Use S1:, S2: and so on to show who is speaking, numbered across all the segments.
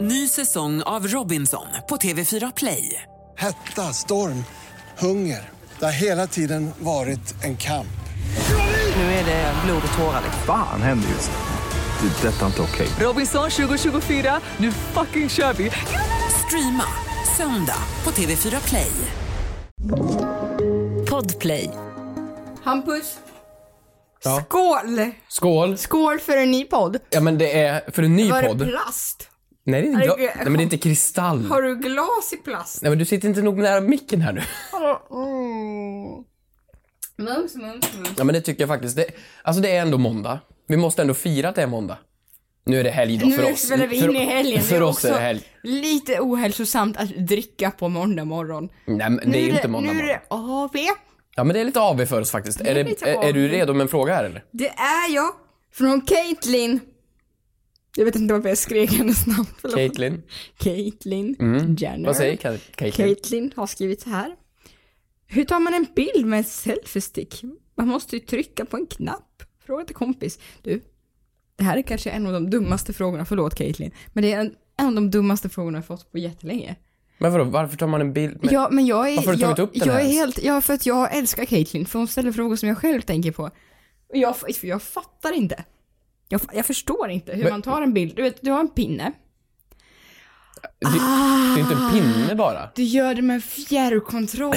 S1: Ny säsong av Robinson på TV4 Play.
S2: Hetta, storm, hunger. Det har hela tiden varit en kamp.
S1: Nu är det blod och tårar. liksom.
S3: Fan händer just nu. Det. är Detta är inte okej.
S1: Robinson 2024, nu fucking kör vi! Streama söndag på TV4 Play.
S4: Podplay.
S5: Hampus,
S6: Ja.
S5: skål!
S6: Skål!
S5: Skål för en ny podd.
S6: Ja men det är för en ny
S5: Var det
S6: podd.
S5: plast?
S6: Nej, det är
S5: Är
S6: inte
S5: det
S6: gla-
S5: gl-
S6: Nej men det är inte kristall.
S5: Har du glas i plast?
S6: Nej men du sitter inte nog nära micken här nu.
S5: Mm. Mums, mums, mums.
S6: Ja men det tycker jag faktiskt. Det, alltså det är ändå måndag. Vi måste ändå fira att det är måndag. Nu är det helg då
S5: Nu
S6: för oss.
S5: spelar vi in
S6: för,
S5: i helgen.
S6: För
S5: Det är
S6: oss är det
S5: också
S6: helg.
S5: Lite ohälsosamt att dricka på måndag morgon.
S6: Nej men det är ju inte måndag
S5: Nu är
S6: morgon.
S5: det AV.
S6: Ja men det är lite AV för oss faktiskt. Är,
S5: är
S6: det,
S5: lite
S6: är, är du
S5: AV.
S6: redo med en fråga här eller?
S5: Det är jag. Från Caitlyn. Jag vet inte varför jag skrek hennes namn. Förlåt.
S6: Caitlin?
S5: Caitlyn Jenner.
S6: Mm. Vad säger Ka- Caitlin?
S5: Caitlyn har skrivit så här. Hur tar man en bild med en selfiestick? Man måste ju trycka på en knapp. Fråga till kompis. Du, det här är kanske en av de dummaste frågorna, förlåt Caitlyn, men det är en, en av de dummaste frågorna jag fått på jättelänge.
S6: Men vadå, varför tar man en bild med...
S5: ja, men jag är,
S6: varför har du
S5: jag,
S6: tagit upp den
S5: jag är
S6: här?
S5: helt, ja för att jag älskar Caitlyn, för hon ställer frågor som jag själv tänker på. Och jag, för jag fattar inte. Jag, fa- jag förstår inte hur
S6: Men-
S5: man tar en bild. Du vet, du har en pinne.
S6: Det, det är inte en pinne bara.
S5: Du gör det med en fjärrkontroll.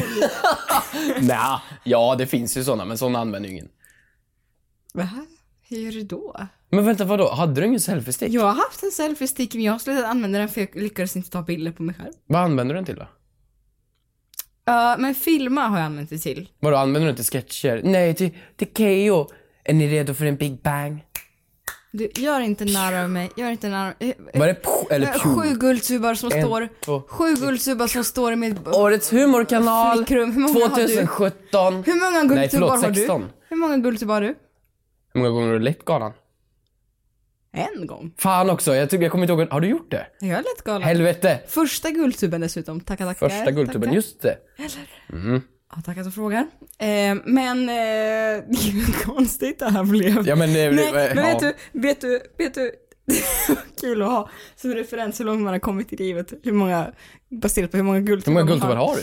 S6: Nja, ja det finns ju sådana men sådana använder ju ingen.
S5: Va? Hur gör du då?
S6: Men vänta vadå, hade du ingen selfiestick?
S5: Jag har haft en selfie-stick men jag har slutat använda den för jag lyckades inte ta bilder på mig själv.
S6: Vad använder du den till då?
S5: Ja, men filma har jag använt det till.
S6: Vadå, använder du den till sketcher? Nej, till, till Keyyo. Är ni redo för en Big Bang?
S5: Du, gör inte narr av mig. Gör inte narr av mig.
S6: Var det P- eller Pew?
S5: Sju guldsubar som
S6: En,
S5: står...
S6: två,
S5: Sju guldsubar som står i mitt...
S6: Årets humorkanal
S5: Flickrum, hur många har du?
S6: 2017.
S5: Hur många
S6: Nej,
S5: guldsubar
S6: förlåt,
S5: har du?
S6: 16.
S5: Hur många guldsubar har du?
S6: Hur många gånger har du lett galan?
S5: En gång.
S6: Fan också, jag, tycker, jag kommer inte ihåg. Har du gjort det?
S5: Jag är lätt galen.
S6: Helvete!
S5: Första guldtuben dessutom. Tacka, tacka.
S6: Första Guldtuben,
S5: Tacka.
S6: just det.
S5: Ja, tackar som frågar. Eh, men eh, det är ju konstigt det här blev.
S6: Ja, men, eh,
S5: Nej,
S6: eh,
S5: men
S6: ja.
S5: vet du, vet du, vet du, kul att ha som referens hur långt man har kommit i livet, hur många, baserat på hur många
S6: Hur
S5: guldtuber
S6: många
S5: man
S6: Guldtuber har du?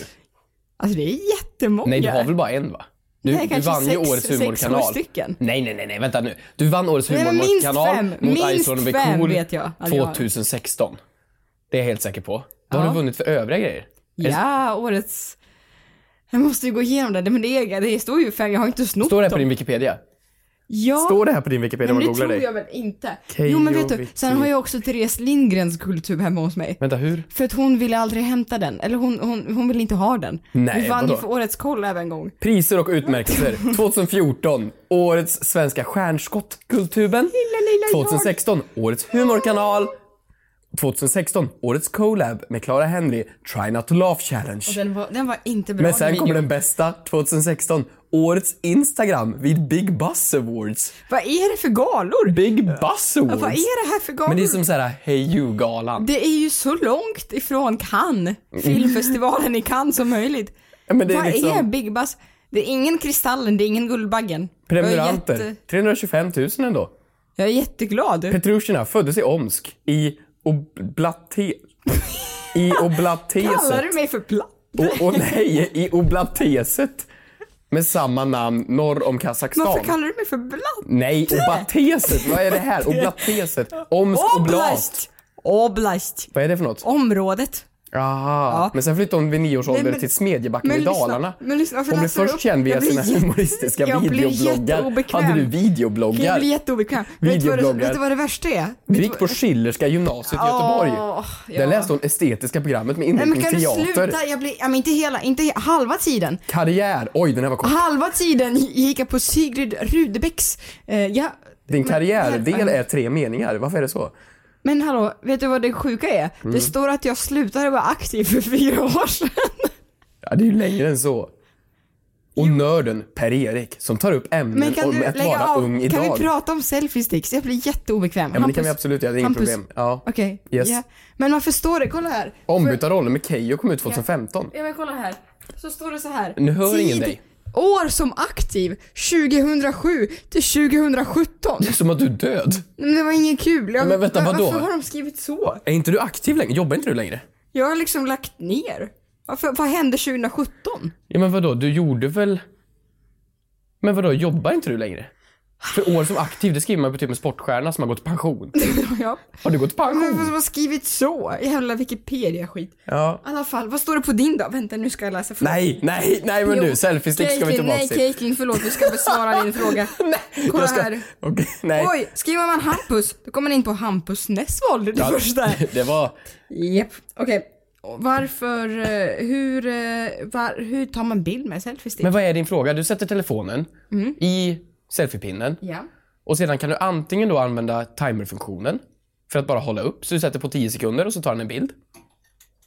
S5: Alltså det är jättemånga.
S6: Nej, du har väl bara en va? Du,
S5: Nej,
S6: du
S5: kanske
S6: vann ju
S5: sex-
S6: Årets
S5: sex
S6: humorkanal.
S5: stycken.
S6: Nej, nej, nej, nej, vänta nu. Du vann Årets
S5: Nej, men minst
S6: humorkanal
S5: fem.
S6: mot
S5: Minst
S6: Ison och
S5: fem
S6: Cool
S5: vet jag att jag har.
S6: 2016. Det är jag helt säker på. Vad har
S5: Ja.
S6: du vunnit för övriga grejer?
S5: Ja, årets, jag måste ju gå igenom det, men det, är, det står ju fem, jag har inte snott
S6: Står det här på
S5: dem.
S6: din Wikipedia?
S5: Ja,
S6: det här på din Wikipedia
S5: men det tror jag väl inte.
S6: Keyyo
S5: jo men vet du,
S6: Witt-
S5: sen har jag också Therese Lindgrens guldtub hemma hos mig.
S6: Vänta, hur?
S5: För att hon ville aldrig hämta den, eller hon, hon, hon ville inte ha den.
S6: Nej,
S5: Vi vann
S6: vadå?
S5: ju för årets koll även en gång.
S6: Priser och utmärkelser. 2014, Årets svenska stjärnskott, Guldtuben.
S5: lilla jag.
S6: 2016, Årets humorkanal. 2016, Årets collab med Clara Henry, Try Not To Laugh Challenge.
S5: Och den var, den var inte bra
S6: Men sen
S5: video.
S6: kommer den bästa, 2016, Årets Instagram vid Big Buzz Awards.
S5: Vad är det för galor?
S6: Big Buzz Awards!
S5: Vad är det här för galor?
S6: Men det är som såhär Hey You-galan.
S5: Det är ju så långt ifrån Cannes, filmfestivalen i Cannes som möjligt.
S6: Mm. Ja, men det är
S5: Vad
S6: liksom-
S5: är Big Buzz? Det är ingen Kristallen, det är ingen Guldbaggen.
S6: Prenumeranter.
S5: Jag är, jätte,
S6: 325 000 ändå.
S5: jag är jätteglad.
S6: Petrushina föddes i Omsk i Oblate... I
S5: Kallar
S6: Oblateset.
S5: du mig för platt?
S6: Och, och nej, i Oblateset. Med samma namn norr om
S5: Varför
S6: Kazakstan.
S5: kallar du mig för platt?
S6: Nej, Oblateset. Vad är det här? Oblateset. Omsk Oblast.
S5: Oblast! Oblast.
S6: Vad är det för något?
S5: Området.
S6: Aha. Men sen flyttade hon vid nio års
S5: Nej,
S6: ålder
S5: men-
S6: till Smedjebacken
S5: men
S6: i
S5: lyssna-
S6: Dalarna.
S5: men lyssna, för
S6: hon blev
S5: läser du
S6: först
S5: upp-
S6: känd via
S5: jag blir
S6: sina
S5: jätte-
S6: humoristiska
S5: jag blir
S6: videobloggar.
S5: jätteobekväm.
S6: Hade du
S5: Jag blir
S6: videobloggar?
S5: jätteobekväm. Vet du, vad det,
S6: Videobloggar.
S5: vet du vad det värsta är?
S6: Du gick på Schillerska gymnasiet i Göteborg.
S5: Åh, ja.
S6: Där läste hon estetiska programmet med
S5: Nej men
S6: inriktning
S5: kan du
S6: teater.
S5: sluta? Jag blir, ja, men inte hela, inte he- halva tiden.
S6: Karriär. Oj, den här var kort.
S5: Halva tiden gick jag på Sigrid Rudebecks. Eh, ja,
S6: Din
S5: men-
S6: karriärdel
S5: men-
S6: är tre meningar. Varför är det så?
S5: Men hallå, vet du vad det sjuka är?
S6: Mm.
S5: Det står att jag slutade vara aktiv för fyra år sedan.
S6: Ja, det är ju längre än så. Och nörden Per-Erik som tar upp
S5: Men
S6: ämnen
S5: kan
S6: om
S5: du
S6: att
S5: lägga
S6: vara
S5: av?
S6: ung idag.
S5: Kan vi prata om selfie sticks? Jag blir jätteobekväm.
S6: Ja, men det kan vi absolut göra, det är inget problem. Ja.
S5: Okej.
S6: Yes.
S5: ja. Men varför står det, kolla här.
S6: Ombytta roller med Keyyo kom ut 2015.
S5: Ja men kolla här. Så står det så här.
S6: Nu hör ingen dig.
S5: År som aktiv 2007 till 2017.
S6: Det är som att du är död.
S5: Men det var inget kul. Jag,
S6: Men vänta,
S5: va-
S6: vadå?
S5: Varför har de skrivit så?
S6: Är inte du aktiv längre? Jobbar inte du längre?
S5: Jag har liksom lagt ner. Varför, vad hände 2017?
S6: Ja men vadå, du gjorde väl... Men vadå, jobbar inte du längre? För år som aktiv, det skriver man på typ en sportstjärna som har gått i pension.
S5: ja.
S6: Har du gått i
S5: Men vad
S6: pension?
S5: som har skrivit så? Jävla Wikipedia-skit. I
S6: Ja.
S5: alla fall, vad står det på din då? Vänta, nu ska jag läsa frågan.
S6: Nej, nej, nej men
S5: Jo,
S6: du, selfiestick ska vi
S5: Caitlin,
S6: tillbaka
S5: Nej,
S6: till.
S5: Caitlin, förlåt, vi ska besvara din fråga.
S6: Nej,
S5: Kolla
S6: jag ska...
S5: här.
S6: Okej, nej.
S5: Oj, skriver man Hampus, då kommer man in på Hampus Nessvold, det
S6: Ja,
S5: första.
S6: Det var...
S5: Japp, okej. Och Varför, eh, hur, eh, var, hur tar man bild med selfiestick?
S6: Men vad är din fråga? Du sätter telefonen i selfiepinnen
S5: Mm. Ja.
S6: och sedan kan du antingen då använda timerfunktionen för att bara hålla upp, så du sätter på 10 sekunder och så tar den en bild.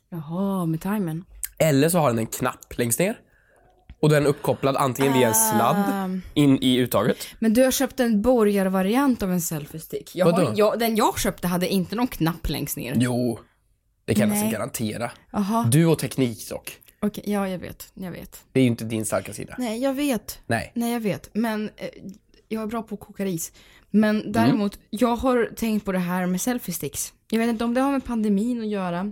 S5: Jaha, med timern.
S6: Eller så har den en knapp längst ner. Och den är uppkopplad antingen
S5: Ah.
S6: via en sladd in i uttaget.
S5: Men du har köpt en borgarvariant av en selfiestick. Jag har,
S6: Vadå?
S5: jag, den jag köpte hade inte någon knapp längst ner.
S6: Jo, det kan jag nästan
S5: Nej.
S6: garantera.
S5: Jaha,
S6: Du och teknik dock.
S5: okej, ja jag vet, jag vet.
S6: Det är ju inte din starka sida.
S5: Nej, jag vet.
S6: Nej.
S5: Nej, jag vet. Men eh, jag är bra på att koka ris. Men
S6: Mm.
S5: däremot, jag har tänkt på det här med selfiesticks. Jag vet inte om det har med pandemin att göra.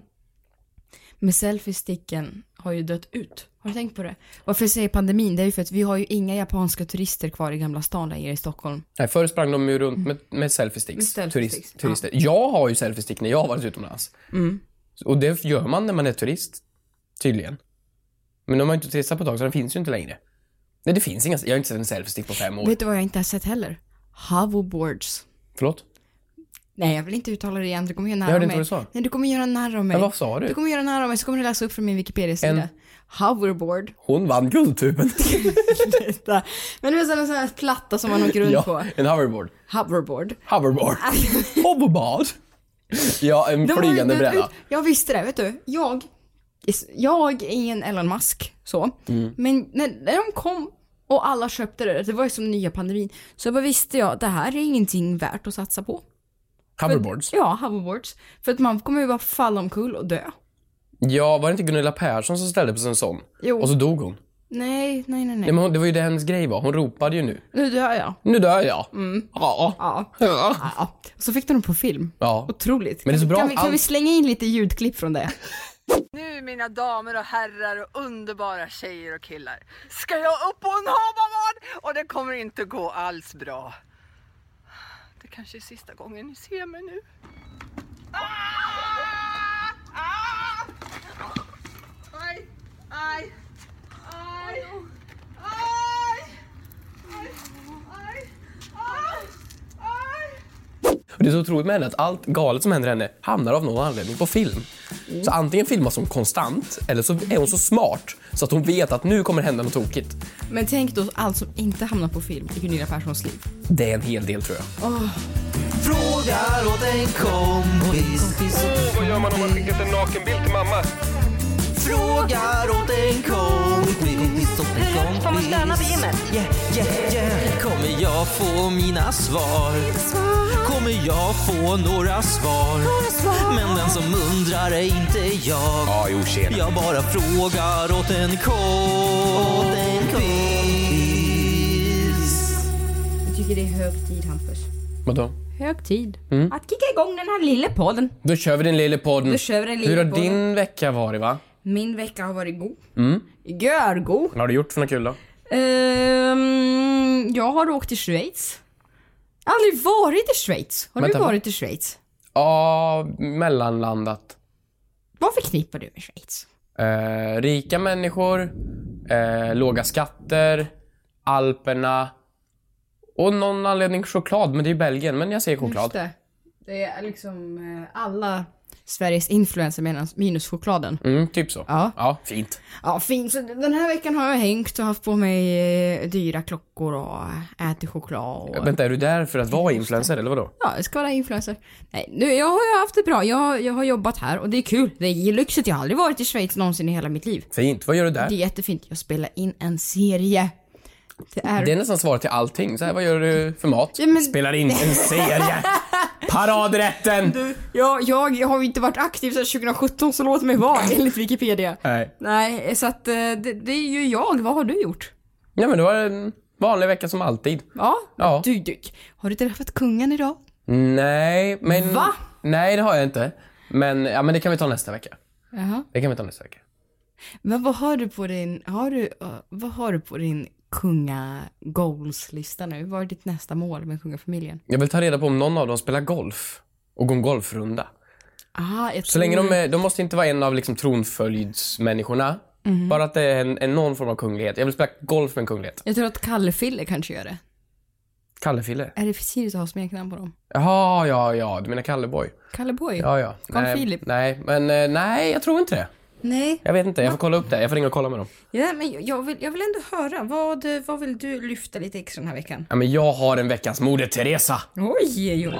S5: Men selfiesticken har ju dött ut. Har du tänkt på det? Varför säger pandemin? Det är ju för att vi har ju inga japanska turister kvar i Gamla stan längre i Stockholm.
S6: Nej, förr sprang de ju runt med, med selfiesticks.
S5: Med selfiesticks,
S6: Turist,
S5: ja. Mm.
S6: turister. Jag har ju selfiestick när jag har varit utomlands. Och det gör man när man är turist. Tydligen. Men de har ju inte turistat på ett tag så den finns ju inte längre. Nej, det finns inga. Jag har inte sett en selfiestick på fem år.
S5: Vet du vad jag inte har sett heller? Hoverboards.
S6: Förlåt?
S5: Nej, jag vill inte uttala det igen. Du kommer göra nära
S6: Jag hörde
S5: mig.
S6: inte vad du sa.
S5: Nej, du kommer göra nära mig.
S6: Men vad sa du?
S5: Du kommer göra nära mig, så kommer du läsa upp från min Wikipedia-sida. Hoverboard.
S6: Hon vann Guldtuben.
S5: Titta. Men det var en sån här platta som man åker runt på.
S6: ja, en hoverboard.
S5: Hoverboard.
S6: Hoverboard. Hoverboard. Ja, en
S5: De har ju
S6: flygande
S5: dött
S6: bräda.
S5: ut. Jag visste det, vet du. Jag, jag är ingen Elon Musk så.
S6: Mm.
S5: Men när, när de kom och alla köpte det, det var ju som nya pandemin. Så bara visste jag, det här är ingenting värt att satsa på.
S6: Hoverboards.
S5: Ja, hoverboards. För att man kommer ju bara falla omkull och dö.
S6: Ja, var det inte Gunilla Persson som ställde på sig en sån?
S5: Jo.
S6: Och så dog hon.
S5: Nej, nej, nej,
S6: Ja,
S5: nej.
S6: men hon, det var ju det hennes grej var. Hon ropade ju nu.
S5: Nu dör jag.
S6: Nu dör jag. Ja.
S5: Mm. Ja.
S6: Ja.
S5: ja. Så fick de den på film.
S6: ja.
S5: Otroligt.
S6: Men det är så bra
S5: kan
S6: att
S5: vi, kan vi
S6: allt-
S5: slänga in lite ljudklipp från det?
S4: Nu mina damer och herrar och underbara tjejer och killar ska jag upp på en hoverboard och det kommer inte gå alls bra. Det kanske är sista gången ni ser mig nu. Ah! Ah! Aj, aj, aj, aj, aj, aj, aj, aj.
S6: Och det är så otroligt med henne att allt galet som händer henne hamnar av någon anledning på film. Så antingen filmas hon konstant eller så är hon så smart så att hon vet att nu kommer hända något tokigt.
S5: Men tänk då allt som inte hamnar på film i Gunilla Perssons liv.
S6: Det är en hel del tror jag.
S7: Frågar åt en kompis.
S8: Vad gör man om man skickat en nakenbild till mamma?
S7: Frågar åt en kompis. Åt en kompis. Får man stanna vid gymmet? Yeah, yeah, yeah. Kommer jag få mina svar? Kommer jag få några svar? Men den som undrar är inte jag.
S8: Ja, jo tjena.
S7: Jag bara frågar åt en kompis.
S5: Jag tycker det är hög tid Hampus.
S6: Vadå?
S5: Hög tid
S6: Mm.
S5: att kicka igång den här lilla podden.
S6: Då kör vi den lille podden.
S5: Då kör vi den lille
S6: Mm. Hur har
S5: podden.
S6: din Mm. vecka varit va?
S5: Min vecka har varit god. Görgod.
S6: Vad har du gjort för något kul då?
S5: Ehm, jag har åkt till Schweiz. Aldrig varit i Schweiz. Har
S6: Vänta,
S5: du
S6: va?
S5: varit i Schweiz?
S6: Ja, mellanlandat.
S5: Vad förknippar du med Schweiz?
S6: Eh, rika människor, eh, låga skatter, Alperna och någon anledning choklad. Men det är ju Belgien, men jag säger choklad.
S5: det. Det är liksom eh, alla Sveriges influencer menas- minus chokladen.
S6: Mm, typ så.
S5: Ja.
S6: fint.
S5: Ja, fint. Så den här veckan har jag hängt och haft på mig eh, dyra klockor och ätit choklad. Och...
S6: Vänta, är du där för att vara influencer eller vadå?
S5: Ja, jag ska vara influencer. Nej, nu, jag har ju haft det bra. Jag, jag har jobbat här och det är kul. Det är lyxigt. Jag har aldrig varit i Schweiz någonsin i hela mitt liv.
S6: Fint, vad gör du där?
S5: Det är
S6: Det,
S5: jättefint. Jag spelar in en serie. Det är...
S6: är nästan svaret till allting. Så här, vad gör du för mat?
S5: Ja, men-
S6: Spelar in en serie. Paradrätten!
S5: Ja, jag har ju inte varit aktiv sedan 2017 så låt mig vara enligt Wikipedia.
S6: Nej.
S5: Nej, så att eh, det, det är ju jag. Vad har du gjort?
S6: Ja, men det var en vanlig vecka som alltid.
S5: Ja.
S6: Ja.
S5: Du, du. Har du träffat kungen idag?
S6: Nej, men...
S5: Va?
S6: Nej, det har jag inte. Men, ja, men det kan vi ta nästa vecka.
S5: Jaha.
S6: Det kan vi ta nästa vecka.
S5: Men vad har du på din, har du, uh, vad har du på din kunga goals-lista nu? Vad är ditt nästa mål med kungafamiljen?
S6: Jag vill ta reda på om någon av dem spelar golf och går en golfrunda.
S5: Ah, jag
S6: Så länge de,
S5: tror-
S6: är, de måste inte vara en av liksom tronföljdsmänniskorna.
S5: Mhm.
S6: Bara att det är en, en någon form av kunglighet. Jag vill spela golf med en kunglighet.
S5: Jag tror att Kalle-Fille kanske gör det.
S6: Kallefille.
S5: Är det för tidigt att ha smeknamn på dem?
S6: Jaha, ja, ja. Du menar Kalleboy?
S5: Kalle-boy?
S6: Ja, ja.
S5: Carl
S6: nej,
S5: Philip.
S6: Nej, men eh, nej, jag tror inte det.
S5: Nej,
S6: Jag vet inte. Jag får kolla upp det. Jag får ringa och kolla med dem.
S5: ja, men jag- jag vill, jag vill ändå höra. Vad, vad vill du lyfta lite extra den här veckan?
S6: Ja, men jag har en veckans Moder Teresa.
S5: Oj, oj, oj.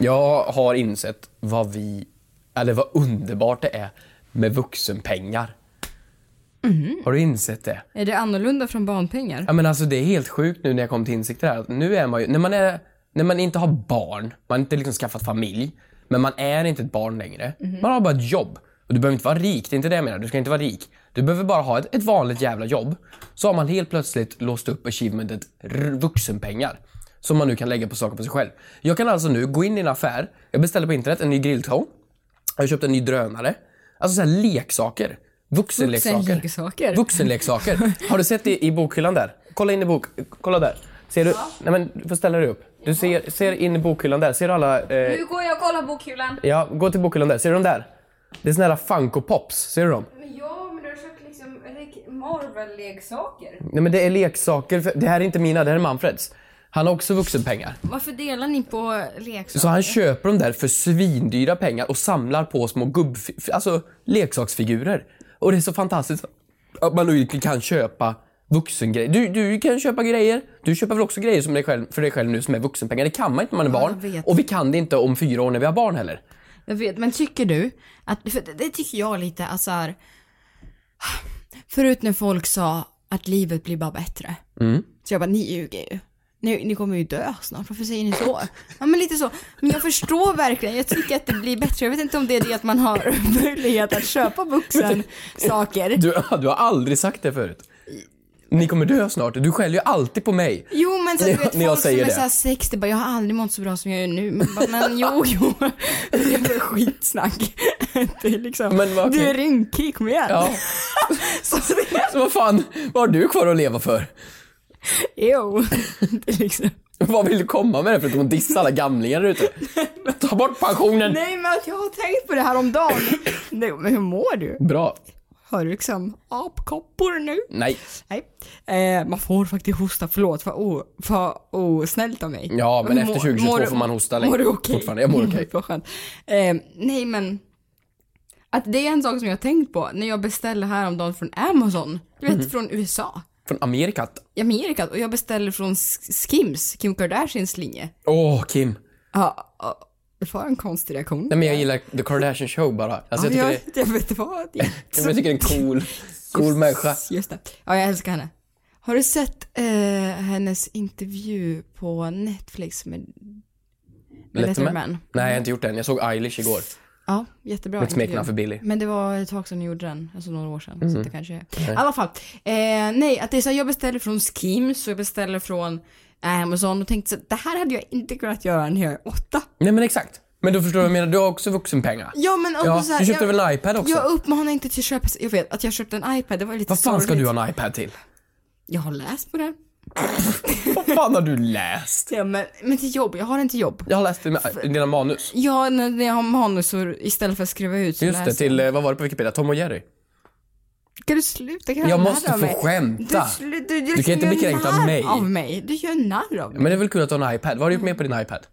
S6: Jag har insett vad vi, eller vad underbart det är med vuxenpengar. Har du insett det?
S5: Är det annorlunda från barnpengar?
S6: Ja men alltså det är helt sjukt nu när jag kom till insikt där. att Nu är man ju, när man, är, när man inte har barn, man har inte liksom skaffat familj, men man är inte ett barn längre. Man har bara ett jobb. Och du behöver inte vara rik, det är inte det jag menar. Du ska inte vara rik. Du behöver bara ha ett, ett vanligt jävla jobb. Så har man helt plötsligt låst upp achievementet r- vuxenpengar. Som man nu kan lägga på saker på sig själv. Jag kan alltså nu gå in i en affär, jag beställer på internet en ny grillton. Jag har köpt en ny drönare. Alltså så här leksaker. Vuxenleksaker.
S5: Vuxenleksaker.
S6: Vuxenleksaker. Har du sett det i bokhyllan där? Kolla in i bok... Kolla där. Ser du? Nej men du får ställa dig upp. Du ser, ser in i bokhyllan där. Ser du alla... Eh,
S5: Mm.
S9: Nu går jag och kollar bokhyllan.
S6: ja, gå till bokhyllan där. Ser du dem där? Det är såna här Funko Pops. Ser du dem?
S9: Men ja, men du har köpt liksom Marvel-leksaker.
S6: Nej men det är leksaker. för- Det här är inte mina, det här är Manfreds. Han har också vuxenpengar.
S5: Varför delar ni på leksaker?
S6: Så han köper dem där för svindyra pengar och samlar på små gubb... Alltså leksaksfigurer. Och det är så fantastiskt att man nu kan köpa vuxengrejer. Du, du kan köpa grejer. Du köper väl också grejer som dig själv, för dig själv nu som är vuxenpengar. Det kan man inte när man är
S5: Ja, jag
S6: barn.
S5: vet.
S6: Och vi kan det inte om fyra år när vi har barn heller.
S5: Jag vet, men tycker du att, för det, det tycker jag lite att så här. Förut när folk sa att livet blir bara bättre.
S6: Mm.
S5: Så jag bara, ni ljuger ju. Ni, ni kommer ju dö snart, varför säger ni så? Ja men lite så. Men jag förstår verkligen, jag tycker att det blir bättre. Jag vet inte om det är det att man har möjlighet att köpa vuxensaker.
S6: Du, du har aldrig sagt det förut. Ni kommer dö snart. Du skäller ju alltid på mig.
S5: Jo men så du
S6: När-
S5: vet
S6: när jag
S5: folk som
S6: säger
S5: är
S6: det.
S5: såhär 60 bara, jag har aldrig mått så bra som jag gör nu. Men, bara, men jo jo, det är bara skitsnack. Det är liksom,
S6: Men vad-
S5: du är rynkig, kom igen.
S6: Ja.
S5: Så det,
S6: Så vad fan, vad har du kvar att leva för?
S5: Jo, det är liksom.
S6: Vad vill du komma med det förutom att dissa alla gamlingar där ute? Ta bort pensionen!
S5: Nej men att jag har tänkt på det här om dagen. Nej men hur mår du?
S6: Bra.
S5: Har du liksom apkoppor nu?
S6: Nej.
S5: Nej. Eh, man får faktiskt hosta, förlåt vad o- vad osnällt av mig.
S6: Ja, men efter
S5: Mår-
S6: 2022
S5: mår du-
S6: får man hosta
S5: Mår
S6: längre.
S5: du okej?
S6: Fortfarande, jag mår okej.
S5: Vad skönt. Eh, nej men. Att det är en sak som jag har tänkt på när jag beställde häromdagen från Amazon. Du vet
S6: Mhm.
S5: från USA.
S6: Från Amerikat.
S5: I Amerika. Och jag beställde från Sk- Skims, Kim Kardashians linje.
S6: Åh, Kim.
S5: Ja, ja, det var en konstig reaktion.
S6: Nej, men jag gillar The Kardashian Show bara. Alltså, jag, tycker
S5: ja,
S6: det,
S5: jag, jag vet vad. det är.
S6: jag, jag tycker det är en cool, cool människa.
S5: Just det. Ja, jag älskar henne. Har du sett eh, hennes intervju på Netflix med Letterman?
S6: Nej, jag har inte gjort den. Jag såg Eilish igår.
S5: Ja, jättebra
S6: Mitt
S5: intervju.
S6: smeknamn för Billy. Mm.
S5: Men det var ett tag sedan du gjorde den, alltså några år sedan. Så att det kanske är. I alla fall. Eh, nej, att det är så här, jag beställer från Skims och jag beställer från Amazon och tänkte så att det här hade jag inte kunnat göra när jag är åtta.
S6: Nej, men exakt. Men du förstår vad jag menar. Du har också vuxenpengar.
S5: Ja men också
S6: Ja,
S5: så här,
S6: du köpte
S5: jag,
S6: väl en iPad också?
S5: Jag uppmanar inte till att köpa, jag vet att jag köpte en iPad, det var lite
S6: Vad fan ska
S5: sorgligt.
S6: du ha en iPad till?
S5: Jag har läst på den.
S6: Vad fan har du läst?
S5: Ja, men, men till jobb, jag har den till jobb.
S6: Jag har läst dina, dina manus.
S5: Ja, när när jag har manus så istället för att skriva ut så
S6: Just det,
S5: läser jag.
S6: till, eh, vad var det på Wikipedia? Tom och Jerry.
S5: Kan du sluta kalla
S6: Jag
S5: mig
S6: måste
S5: narr av
S6: få
S5: mig?
S6: skämta.
S5: Du, slu- du,
S6: Du kan inte
S5: gör
S6: bli kränkt av
S5: narr
S6: mig.
S5: av mig. Du gör narr av mig.
S6: Men det är väl kul att du har en iPad? Vad har du gjort mer på din iPad?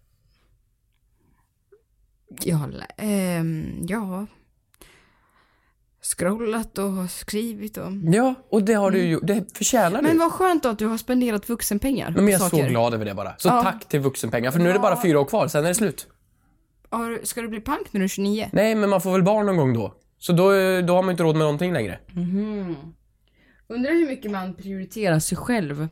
S5: Jag har, lä- ehm, ja. Scrollat och skrivit och.
S6: Ja, och det har du ju Det förtjänar du.
S5: Mm. Men vad skönt då att du har spenderat vuxenpengar
S6: Men
S5: på
S6: jag är
S5: saker.
S6: så glad över det bara. Så
S5: Ja.
S6: tack till vuxenpengar, för nu är det bara fyra år kvar, sen är det slut.
S5: Har du- Ska du bli pank när du är 29?
S6: Nej, men man får väl barn någon gång då. Så då, eh, då har man inte råd med någonting längre.
S5: Undrar hur mycket man prioriterar sig själv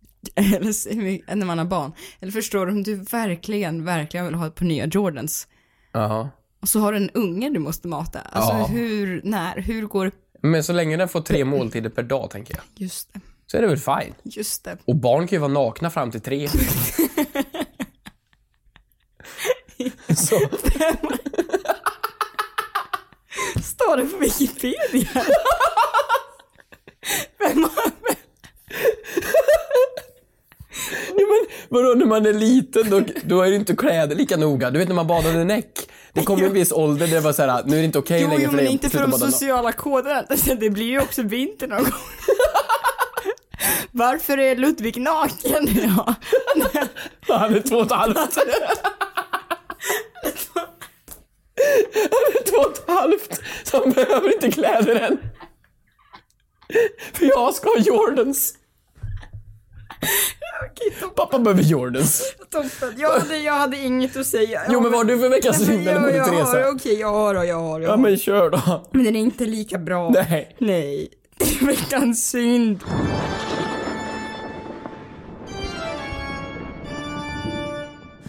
S5: eller så mycket- när man har barn. Eller förstår du om du verkligen, verkligen vill ha ett par nya Jordans.
S6: Jaha.
S5: Och så har du en unge du måste mata. Alltså
S6: Ja.
S5: hur, när, hur går...
S6: Men så länge den får tre måltider per dag, tänker jag,
S5: Just det,
S6: så är det väl fine.
S5: just det.
S6: Och barn kan ju vara nakna fram till tre. så,
S5: Står det på Wikipedia? Vem har...
S6: vadå, när man är liten då, då är det inte kläder lika noga. Du vet när man badade näck. Det kom en viss ålder där det var såhär, nu är det inte okej
S5: Jo,
S6: längre
S5: jo, men
S6: dig att
S5: inte för
S6: sluta
S5: de
S6: bada naken.
S5: sociala koderna. Alltså, Det blir ju också vinter någon gång. Varför är Ludvig naken idag?
S6: Han är två och ett halvt. Han är två och ett halvt, så han behöver inte kläder än. För jag ska ha Jordans. Pappa behöver Jordans.
S5: Toppen. Jag hade, jag hade inget att säga.
S6: Jo men vad har du för veckans
S5: Nej, men
S6: synd eller
S5: jag-
S6: Moder
S5: jag har- Okej,
S6: Teresa?
S5: jag har och jag har. Jag
S6: Ja
S5: har.
S6: men kör då.
S5: Men den är inte lika bra.
S6: Nej.
S5: Nej. Veckans synd.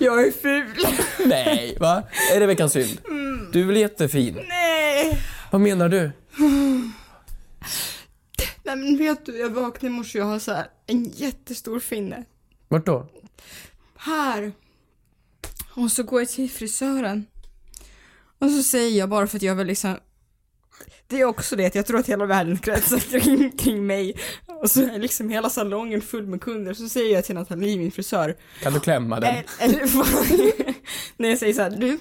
S5: Jag är ful.
S6: Nej, va? Är det veckans synd?
S5: Mm.
S6: Du är väl jättefin?
S5: Nej.
S6: Vad menar du?
S5: Nej men vet du, jag vaknade i morse och jag har så här en jättestor finne.
S6: Vart då?
S5: Här. Och så går jag till frisören. Och så säger jag bara för att jag vill liksom det är också det att jag tror att hela världen kretsar kring, kring mig. Och så är liksom hela salongen full med kunder. Så säger jag till Nathalie, min frisör,
S6: Kan du klämma den?
S5: Eller, eller vad- när jag säger såhär, du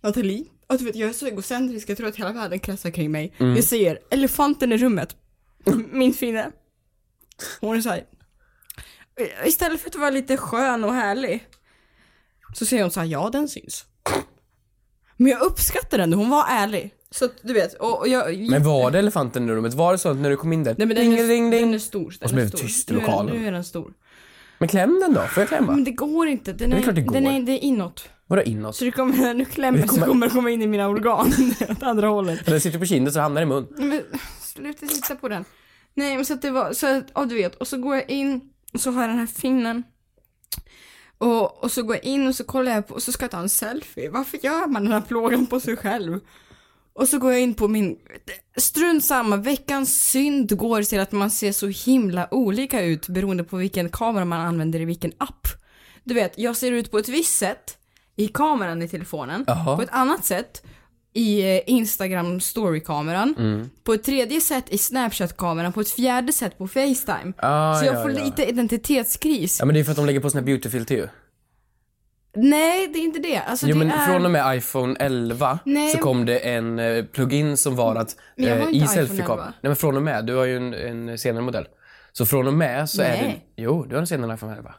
S5: Nathalie, och du vet, jag är så egocentrisk, jag tror att hela världen kretsar kring mig.
S6: Mm.
S5: Jag säger elefanten i rummet, min finne. Hon är såhär, istället för att vara lite skön och härlig, så säger hon såhär, ja den syns. Men jag uppskattar henne, hon var ärlig. Så att du vet, och och jag...
S6: Men var det elefanten i rummet? Var det så att när du kom in där?
S5: Nej, men den,
S6: ding,
S5: är,
S6: ding, ding.
S5: den är stor. Den
S6: Och så blev
S5: är
S6: det
S5: stor.
S6: tyst i
S5: Nu är den-
S6: lokalen.
S5: Nu är den stor.
S6: Men kläm den då, får jag klämma?
S5: Men det går inte, den
S6: Det
S5: är,
S6: är klart det
S5: Den
S6: går.
S5: är, det är inåt.
S6: Vadå inåt?
S5: Så det kommer, nu klämmer
S6: Det
S5: kommer...
S6: kommer-
S5: så kommer det komma in i mina organ åt andra hållet.
S6: Den sitter på kinden så det hamnar i mun.
S5: Men, sluta titta på den. Nej men så att det var, så att, ja du vet. Och så går jag in och så har jag den här finnen. Och, och så går jag in och så kollar jag på, och så ska jag ta en selfie. Varför gör man den här plågan på sig själv? Och så går jag in på min, strunt samma, veckans synd går till att man ser så himla olika ut beroende på vilken kamera man använder i vilken app. Du vet, jag ser ut på ett visst sätt i kameran i telefonen,
S6: Jaha.
S5: på ett annat sätt i eh, Instagram story-kameran,
S6: Mm.
S5: på ett tredje sätt i Snapchat-kameran, på ett fjärde sätt på Facetime.
S6: Ah,
S5: så jag
S6: ja,
S5: får
S6: ja.
S5: lite identitetskris.
S6: Ja men det är för att de lägger på sina beautyfilter ju.
S5: Nej, det är inte det. Alltså,
S6: Jo
S5: det
S6: men
S5: är...
S6: från och med iPhone 11
S5: Nej.
S6: så kom det en eh, plugin som var att
S5: Men jag har
S6: eh,
S5: inte
S6: i
S5: iPhone
S6: selfiekam.
S5: 11.
S6: Nej men från och med, du har ju en, en senare modell. Så från och med så är det...
S5: Nej.
S6: Jo, du har en senare iPhone 11.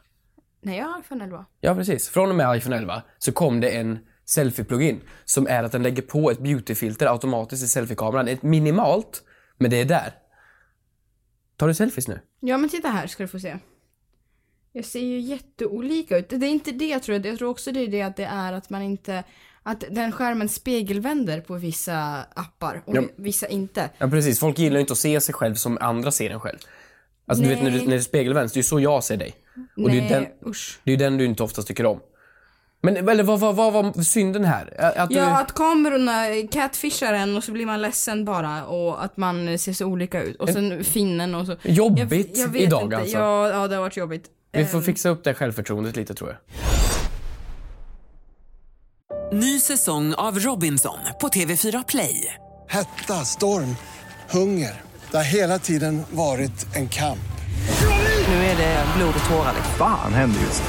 S5: Nej, jag har iPhone 11.
S6: Ja precis. Från och med iPhone 11 så kom det en selfie-plugin som är att den lägger på ett beautyfilter automatiskt i selfiekameran. Ett minimalt, men det är där. Tar du selfies nu?
S5: Ja men titta här ska du få se. Jag ser ju jätteolika ut. Det är inte det jag tror. Jag tror också det är det att det är att man inte... Att den skärmen spegelvänder på vissa appar och
S6: Ja.
S5: vissa inte.
S6: Ja precis, folk gillar ju inte att se sig själv som andra ser en själv. Alltså du vet när
S5: Nej.
S6: du, när du spegelvänds, det är ju så jag ser dig. Och det är ju
S5: Nej,
S6: den,
S5: usch.
S6: det är ju den du inte oftast tycker om. Men eller, vad, vad, vad var synden här? Att att du,
S5: Ja, att kamerorna catfishar en och så blir man ledsen bara och att man ser så olika ut. Och sen finnen och så.
S6: Jobbigt idag alltså.
S5: Ja, ja, det har varit jobbigt. Ehm,
S6: Vi får fixa upp det här självförtroendet lite tror jag.
S1: Ny säsong av Robinson på TV4 Play.
S2: Hetta, storm, hunger. Det har hela tiden varit en kamp.
S1: Nu är det blod och tårar.
S3: Fan händer just det.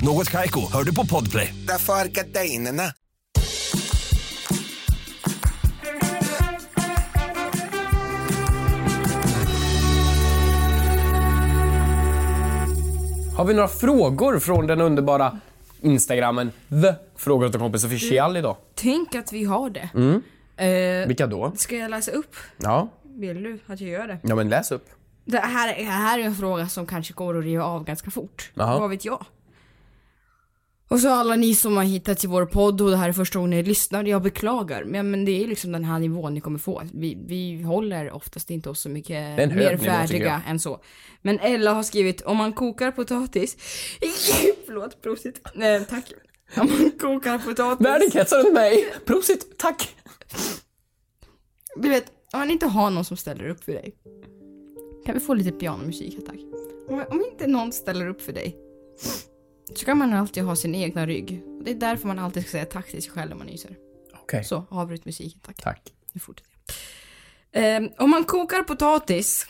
S10: Något Kaiko, hör du på Podplay.
S11: Därför är gardinerna.
S6: Har vi några frågor från den underbara Instagrammen The Frågor åt en kompis official idag?
S5: Tänk att vi har det.
S6: Mm.
S5: Eh,
S6: Vilka då?
S5: Ska jag läsa upp?
S6: Ja.
S5: Vill du att jag gör det?
S6: ja, men läs upp.
S5: Det här, det här är en fråga som kanske går att riva av ganska fort.
S6: Jaha.
S5: Vad vet jag? Och så alla ni som har hittat till vår podd och det här är första gången ni lyssnar, jag beklagar. Men, men det är liksom den här nivån ni kommer få. Vi, vi håller oftast inte oss så mycket
S6: Det är en hög
S5: mer
S6: nivå, tycker
S5: färdiga
S6: jag.
S5: än så. Men Ella har skrivit, om man kokar potatis... Förlåt, prosit. Nej, tack. Om man kokar potatis...
S6: Världen kretsar runt mig. Prosit, tack.
S5: Du vet, om man inte har någon som ställer upp för dig. Kan vi få lite pianomusik här tack? Om, om inte någon ställer upp för dig. Så kan man alltid ha sin egna rygg. Och det är därför man alltid ska säga tack till sig själv när man nyser.
S6: Okej.
S5: Så, avbryt musiken tack.
S6: Tack.
S5: Nu fortsätter jag. Ehm, om man kokar potatis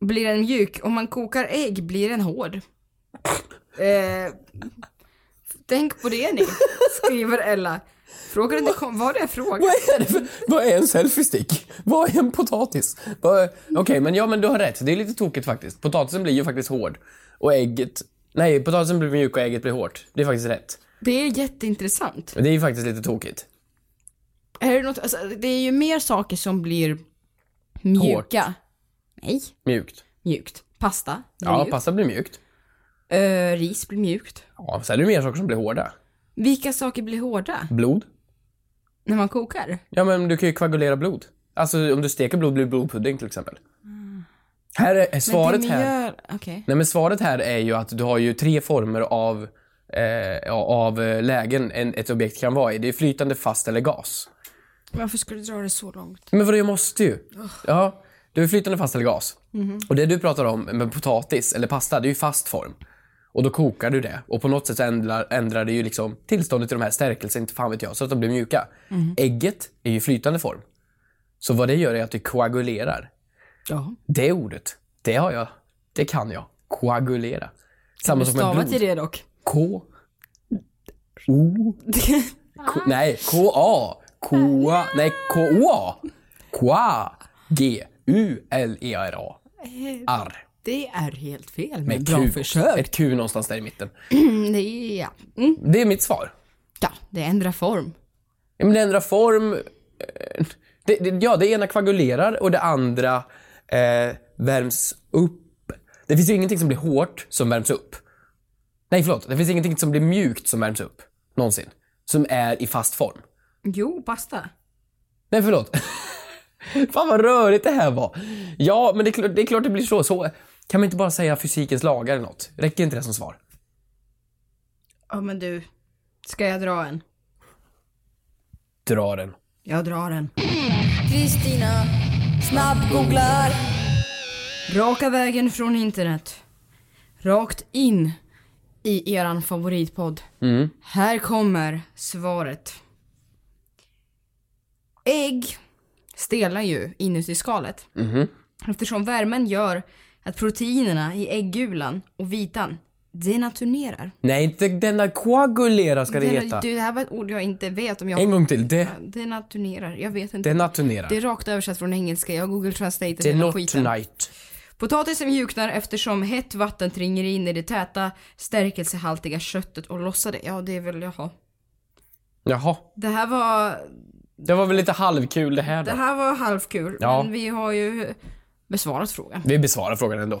S5: blir den mjuk. Om man kokar ägg blir den hård. Ehm, tänk på det ni, skriver Ella. Frågar inte kom, var det en fråga?
S6: Vad är, det för, vad är en selfiestick? Vad är en potatis? Vad är- Okej, men ja, men du har rätt. Det är lite tokigt faktiskt. Potatisen blir ju faktiskt hård. Och ägget... Nej, potatisen blir mjuk och ägget blir hårt. Det är faktiskt rätt.
S5: Det är jätteintressant.
S6: Men det är ju faktiskt lite tokigt.
S5: Är det, något, alltså, det är ju mer saker som blir mjuka. Nej,
S6: Mjukt.
S5: mjukt. Pasta blir
S6: Ja,
S5: mjukt.
S6: pasta blir mjukt.
S5: Eh, ris blir mjukt.
S6: Ja, sen är det mer saker som blir hårda.
S5: Vilka saker blir hårda
S6: Blod.
S5: när man kokar?
S6: Ja, men du kan ju koagulera blod. Alltså om du steker blod blir det blodpudding till exempel. Här är, är svaret
S5: Mm. men det
S6: här.
S5: miljö- Okej.
S6: Nej, men svaret här är ju att du har ju tre former av, eh, av eh, lägen en, ett objekt kan vara i. Det är flytande, fast eller gas.
S5: Varför skulle du dra det så långt?
S6: Men vadå, jag måste ju. Ja, du är flytande, fast eller gas.
S5: Mhm.
S6: Och det du pratar om med potatis eller pasta, det är ju fast form. Och då kokar du det. Och på något sätt så ändrar, ändrar det ju liksom tillståndet i de här, stärkelsen, inte fan vet jag, så att de blir mjuka.
S5: Mhm.
S6: Ägget är ju flytande form. Så vad det gör är att det koagulerar.
S5: Ja.
S6: Det ordet, det har jag. Det kan jag. Koagulera.
S5: Kan
S6: Samma
S5: du
S6: som
S5: stava
S6: med
S5: till
S6: blod.
S5: det dock?
S6: K. O. K, nej, K-A. K-A. Nej, K-O-A. K-A. G-U-L-E-R-A. Arr.
S5: Det är helt fel, men
S6: Med
S5: bra
S6: Q.
S5: försök.
S6: Ett Q någonstans där i mitten.
S5: det, är, ja. Mm,
S6: Det är mitt svar.
S5: ja, det ändrar form.
S6: Ja, men det ändrar form. eh, Det, det, ja, det ena koagulerar och det andra eh, värms upp. Det finns ju ingenting som blir hårt som värms upp. Nej, förlåt. Det finns ingenting som blir mjukt som värms upp. Någonsin. Som är i fast form.
S5: Jo, pasta.
S6: Nej, förlåt. Fan vad rörigt det här var. Ja, men det är, klart, det är klart det blir så. så. Kan man inte bara säga fysikens lagar eller något? Räcker inte det som svar?
S5: Ja, men du. Ska jag dra en?
S6: Dra den.
S5: Jag drar den.
S12: Kristina snabbgooglar.
S5: Raka vägen från internet. Rakt in i eran favoritpodd.
S6: Mm.
S5: Här kommer svaret. Ägg stelnar ju inuti skalet
S6: Mhm.
S5: eftersom värmen gör att proteinerna i äggulan och vitan denaturerar.
S6: Nej, inte denna koagulera ska det
S5: Dena-
S6: heta.
S5: Du, det här var ett ord jag inte vet om jag...
S6: En gång till. Det,
S5: Denaturerar. Jag vet inte.
S6: det naturerar.
S5: Det är rakt översatt från engelska. Jag har google translated
S6: Det är
S5: hela
S6: not
S5: skiten.
S6: tonight.
S5: Potatisen mjuknar eftersom hett vatten tränger in i det täta, stärkelsehaltiga köttet och lossar det. Ja, det är väl, jaha.
S6: Jaha.
S5: Det här var,
S6: Det var väl lite halvkul det här
S5: det
S6: då.
S5: här var halvkul.
S6: Ja.
S5: Men vi har ju besvarat frågan.
S6: Vi besvarar frågan ändå.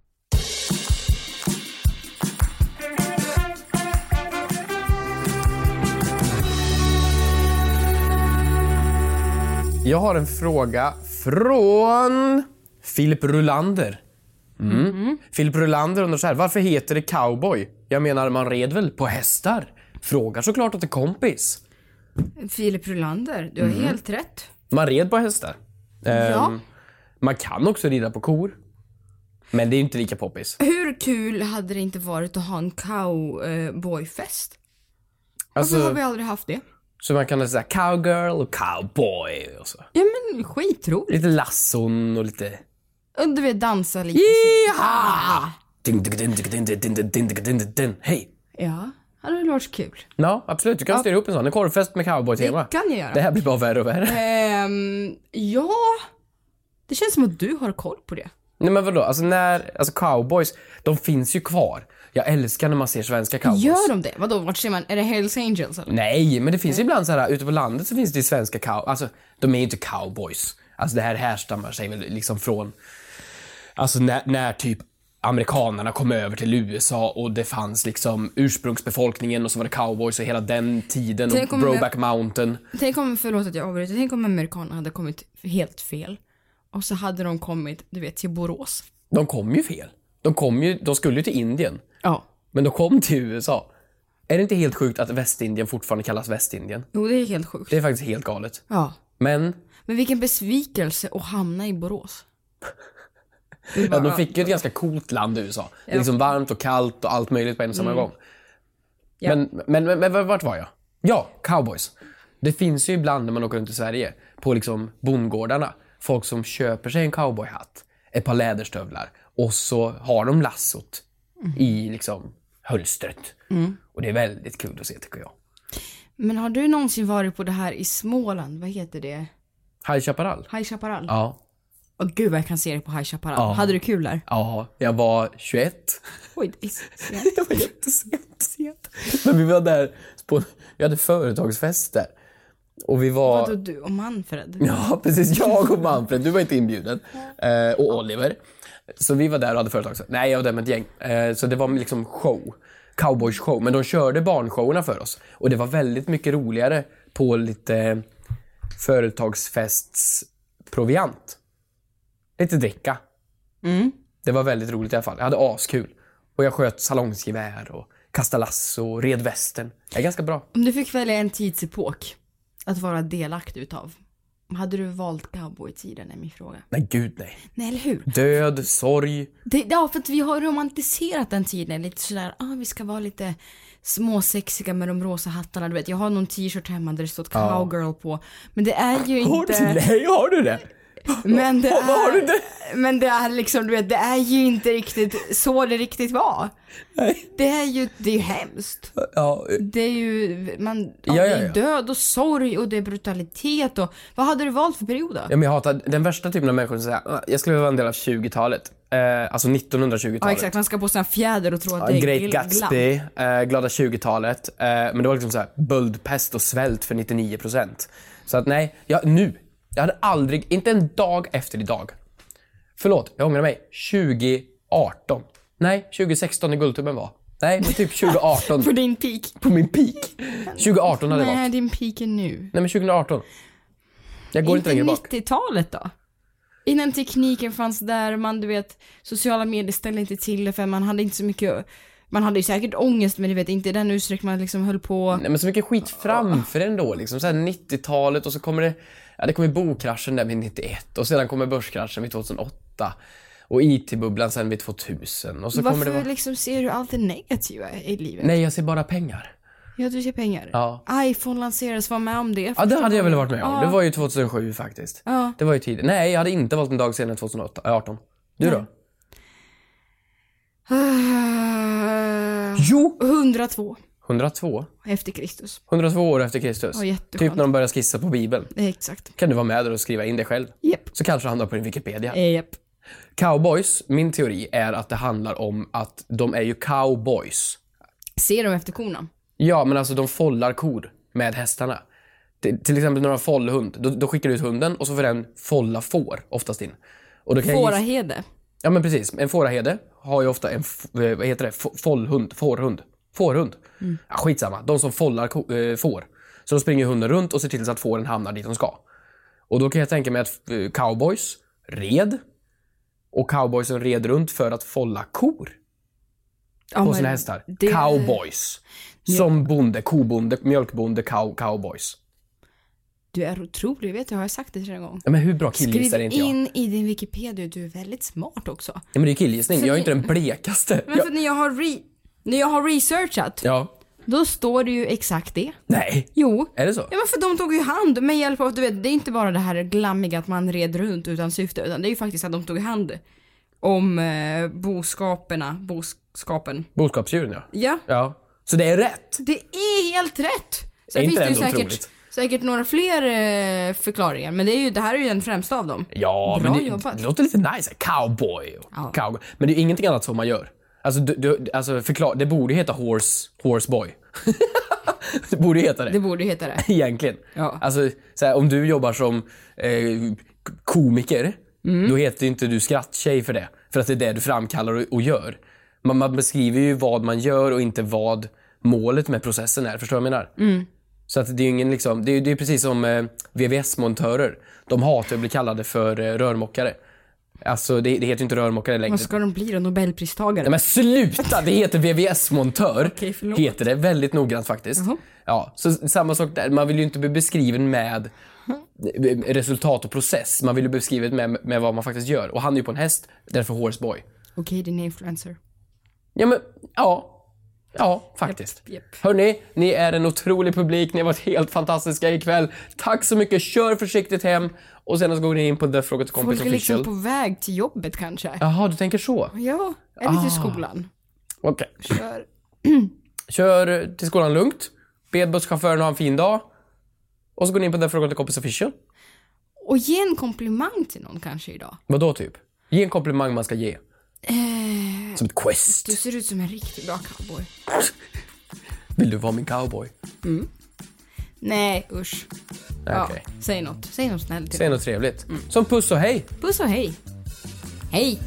S6: Jag har en fråga från Filip Rulander. Mm. Filip Rulander undrar så här, varför heter det cowboy? Jag menar, man red väl på hästar? Frågar såklart åt en kompis.
S5: Filip Rolander, du har
S6: Mm.
S5: helt rätt.
S6: Man red på hästar. Ehm,
S5: Ja.
S6: Man kan också rida på kor. Men det är inte lika poppis.
S5: Hur kul hade det inte varit att ha en cowboyfest? Varför
S6: Alltså-
S5: har vi aldrig haft det?
S6: Så man kan säga cowgirl och cowboy och så.
S5: Ja men skitroligt.
S6: Lite lasson och lite...
S5: Och Du vet dansa lite.
S6: Jaha! Ding, ding, ding, ding, ding, ding, ding, ding, ding, ding, ding. Hej!
S5: Ja, hade väl varit så kul.
S6: Ja, absolut. Du kan styra upp en sån. En korvfest med cowboytema.
S5: Det kan jag göra.
S6: Det här blir bara värre och värre.
S5: Ehm, ja, det känns som att du har koll på det.
S6: Nej men vadå, alltså när, alltså cowboys, de finns ju kvar. Jag älskar när man ser svenska cowboys.
S5: Gör de det? Vadå, vart ser man? Är det Hells Angels eller?
S6: Nej, men det finns ju ibland så här ute på landet så finns det ju svenska cow... Alltså, de är ju inte cowboys. Alltså det här härstammar sig väl liksom från... Alltså när, när typ amerikanerna kom över till USA och det fanns liksom ursprungsbefolkningen och så var det cowboys och hela den tiden
S5: Tänk
S6: och
S5: om-
S6: Broback Mountain.
S5: Tänk om, förlåt att jag avbryter, tänk om amerikanerna hade kommit helt fel. Och så hade de kommit, du vet, till Borås.
S6: De kom ju fel. De kom ju, de skulle ju till Indien.
S5: Ja.
S6: Men de kom till USA. Är det inte helt sjukt att Västindien fortfarande kallas Västindien?
S5: Jo, det är helt sjukt.
S6: Det är faktiskt helt galet.
S5: Ja.
S6: Men
S5: Men vilken besvikelse att hamna i Borås.
S6: Ja, de fick ju ett ganska coolt land i USA. Det är
S5: Ja.
S6: Liksom varmt och kallt och allt möjligt på en och samma
S5: Mm.
S6: gång.
S5: Ja.
S6: Men, men, men, men vart var jag? Ja, cowboys. Det finns ju ibland när man åker runt i Sverige på liksom bondgårdarna, folk som köper sig en cowboyhatt, ett par läderstövlar och så har de lassot i liksom hölstret.
S5: Mm.
S6: Och det är väldigt kul att se tycker jag.
S5: Men har du någonsin varit på det här i Småland? Vad heter det?
S6: High Chaparral?
S5: High Chaparral?
S6: Ja.
S5: Åh gud vad jag kan se det på High Chaparral.
S6: Ja.
S5: Hade du kul där?
S6: Ja, jag var 21.
S5: Oj, det är sent.
S6: det var jättesent. sent. Men vi var där, på, vi hade företagsfest där. Och vi var...
S5: Vadå du och Manfred?
S6: Ja, precis. Jag och Manfred, du var inte inbjuden. Eh, och Oliver. Så vi var där och hade företag. Nej, jag var där med ett gäng. Eh, så det var liksom show. Cowboys-show. Men de körde barnshowerna för oss. Och det var väldigt mycket roligare på lite företagsfestsproviant. Lite dricka. Det var väldigt roligt i alla fall. Jag hade askul. Och jag sköt salongsgevär och kastade lasso och red västen. Jag är ganska bra.
S5: Om du fick välja en tidsepok att vara delaktig utav. Hade du valt cowboytiden är min fråga.
S6: Nej, gud nej.
S5: Nej, eller hur?
S6: Död, sorg.
S5: Det, ja, för att vi har romantiserat den tiden lite sådär, ah, vi ska vara lite småsexiga med de rosa hattarna. Du vet, jag har någon t-shirt hemma där det står
S6: Ja.
S5: cowgirl på. Men det är ju
S6: Har
S5: inte...
S6: du, nej, har du det?
S5: Men det
S6: Vad har du
S5: är, men det är liksom, du vet, det är ju inte riktigt så det riktigt var. Det är ju, det är ju hemskt.
S6: Ja,
S5: Det är ju, man, ja,
S6: Ja,
S5: det
S6: ja,
S5: är
S6: ja.
S5: död och sorg och det är brutalitet och, vad hade du valt för period då?
S6: Ja, men jag hatar den värsta typen av människor som säger "Ah, jag skulle vilja vara en del av 20-talet. Eh, alltså 1920-talet.
S5: Ja, exakt, man ska på sina fjäder och tro att
S6: Ja,
S5: det är
S6: Great
S5: gl-
S6: Gatsby, eh, glada 20-talet. Eh, men det var liksom så här, böldpest och svält för 99%. Så att nej, jag, nu. Jag hade aldrig, inte en dag efter idag. Förlåt, jag ångrar mig. 2018. Nej, 2016 när Guldtubben var. Nej, men typ 2018.
S5: För din peak.
S6: På min peak? 2018 hade det
S5: Nej,
S6: varit.
S5: din peak är nu.
S6: Nej, men 2018. Jag går inte längre bak.
S5: 90-talet då? Innan tekniken fanns där, man du vet, sociala medier ställde inte till det för man hade inte så mycket, man hade ju säkert ångest men du vet inte i den utsträckning man liksom höll på.
S6: Nej men så mycket skit framför en då liksom. Såhär 90-talet och så kommer det, ja det kommer bokraschen där vid 91 och sedan kommer börskraschen vid 2008. Och IT-bubblan sen vid 2000 och så
S5: Varför
S6: kommer det vara...
S5: liksom ser du allt det negativa i livet?
S6: Nej jag ser bara pengar.
S5: Ja, du ser pengar.
S6: Ja.
S5: Iphone lanserades, var med om det.
S6: Ja det hade jag väl varit med om.
S5: Ja.
S6: Det var ju 2007 faktiskt.
S5: Ja.
S6: Det var ju tidigt. Nej jag hade inte valt en dag senare än 2018. Du då? Jo!
S5: 102
S6: 102?
S5: Ah. efter Kristus.
S6: 102 år efter Kristus.
S5: Ja, jätteskönt.
S6: typ när de börjar skissa på Bibeln.
S5: Eh, Exakt.
S6: Kan du vara med där och skriva in det själv?
S5: Japp. Eh,
S6: Så kanske det hamnar på din Wikipedia.
S5: Japp.
S6: Cowboys, min teori är att det handlar om att de är ju cowboys.
S5: Ser de efter korna?
S6: Ja, men alltså de follar kor med hästarna. Till, till exempel när de har follhund, då, då skickar du ut hunden och så får den folla får, oftast in. Och då kan jag gissa-
S5: Fårahede.
S6: Ja men precis, en fåraherde har ju ofta en, f- eh, vad heter det, F- follhund, fårhund, fårhund. Mm. Ja, skitsamma, de som follar ko- eh, får. Så då springer hunden runt och ser till så att fåren hamnar dit de ska. Och då kan jag tänka mig att eh, cowboys red. Och cowboysen red runt för att folla kor
S5: Ja,
S6: på
S5: men
S6: sina hästar.
S5: det-
S6: Cowboys.
S5: Ja.
S6: Som bonde, kobonde, mjölkbonde, cow, cowboys.
S5: Du är otrolig, jag vet du, har jag sagt det till en gång?
S6: Ja, men hur bra killgissar
S5: Skriv
S6: är inte jag?
S5: in i din Wikipedia, du är väldigt smart också.
S6: Ja, men det är ju killgissning.
S5: För
S6: Jag är
S5: ni-
S6: inte den blekaste.
S5: Men
S6: Jag,
S5: för när jag har, re- när jag har researchat,
S6: ja.
S5: då står det ju exakt det.
S6: Nej.
S5: Jo.
S6: Är det så?
S5: Ja men för de tog ju hand med hjälp av, du vet, det är inte bara det här glammiga att man red runt utan syfte, utan det är ju faktiskt att de tog hand om eh, boskaperna, boskapen.
S6: Boskapsdjuren, ja.
S5: Ja,
S6: Ja. Så det är rätt.
S5: det är helt rätt!
S6: Är
S5: Sen finns det ju
S6: inte det ändå
S5: säkert,
S6: otroligt?
S5: säkert några fler eh, förklaringar, men det, är ju, det här är ju den främsta av dem.
S6: Ja,
S5: Bra
S6: men det,
S5: jobbat.
S6: det låter lite nice. Cowboy. och Cowboy. Men det är ju ingenting annat som man gör. Alltså, du, du, alltså förklar, det borde ju heta horse, horseboy. det borde ju heta det.
S5: Det borde ju heta det.
S6: Egentligen. Alltså, så här, om du jobbar som eh, k- komiker,
S5: Mm.
S6: då heter ju inte du skrattjej för det. För att det är det du framkallar och, och gör. Man, man beskriver ju vad man gör och inte vad målet med processen är. Förstår du vad jag menar?
S5: Mm.
S6: Så att det är ju ingen liksom, det är, det är precis som eh, VVS-montörer. De hatar att bli kallade för eh, rörmokare. Alltså det, det heter ju inte rörmokare längre.
S5: Vad ska de bli då? Nobelpristagare?
S6: Nej men sluta! Det heter VVS-montör.
S5: Okej, förlåt.
S6: heter det väldigt noggrant faktiskt.
S5: Jaha.
S6: Ja, så s- samma sak där. Man vill ju inte bli beskriven med eh, resultat och process. Man vill ju bli beskriven med, med vad man faktiskt gör. Och han är ju på en häst, därför horseboy.
S5: Okej, din influencer.
S6: Ja men, ja. Ja, faktiskt. Hörni, ni är en otrolig publik. Ni har varit helt fantastiska ikväll. Tack så mycket. Kör försiktigt hem. Och sen så går ni in på The Fråga till Kompis
S5: Folk är
S6: Official.
S5: liksom på väg till jobbet kanske.
S6: Jaha, du tänker så?
S5: Ja, eller till
S6: Ah.
S5: skolan.
S6: Okej.
S5: Kör.
S6: Kör till skolan lugnt. Be busschauffören ha en fin dag. Och så går ni in på The Fråga till Kompis Official.
S5: Och ge en komplimang till någon kanske idag.
S6: Vadå typ? Ge en komplimang man ska ge.
S5: Eh,
S6: Som ett quest.
S5: du ser ut som en riktigt bra cowboy.
S6: Vill du vara min cowboy?
S5: Mm. Nej, usch.
S6: Okej.
S5: Ja, säg något. Säg något snällt till
S6: Säg
S5: mig.
S6: något trevligt. Som puss och hej.
S5: Puss och hej. Hej.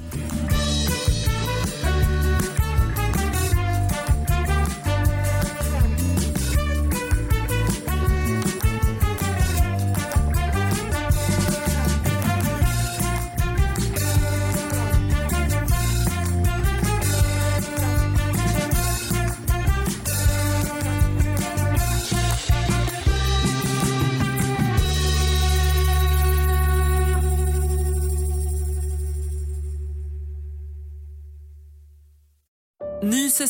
S1: Ny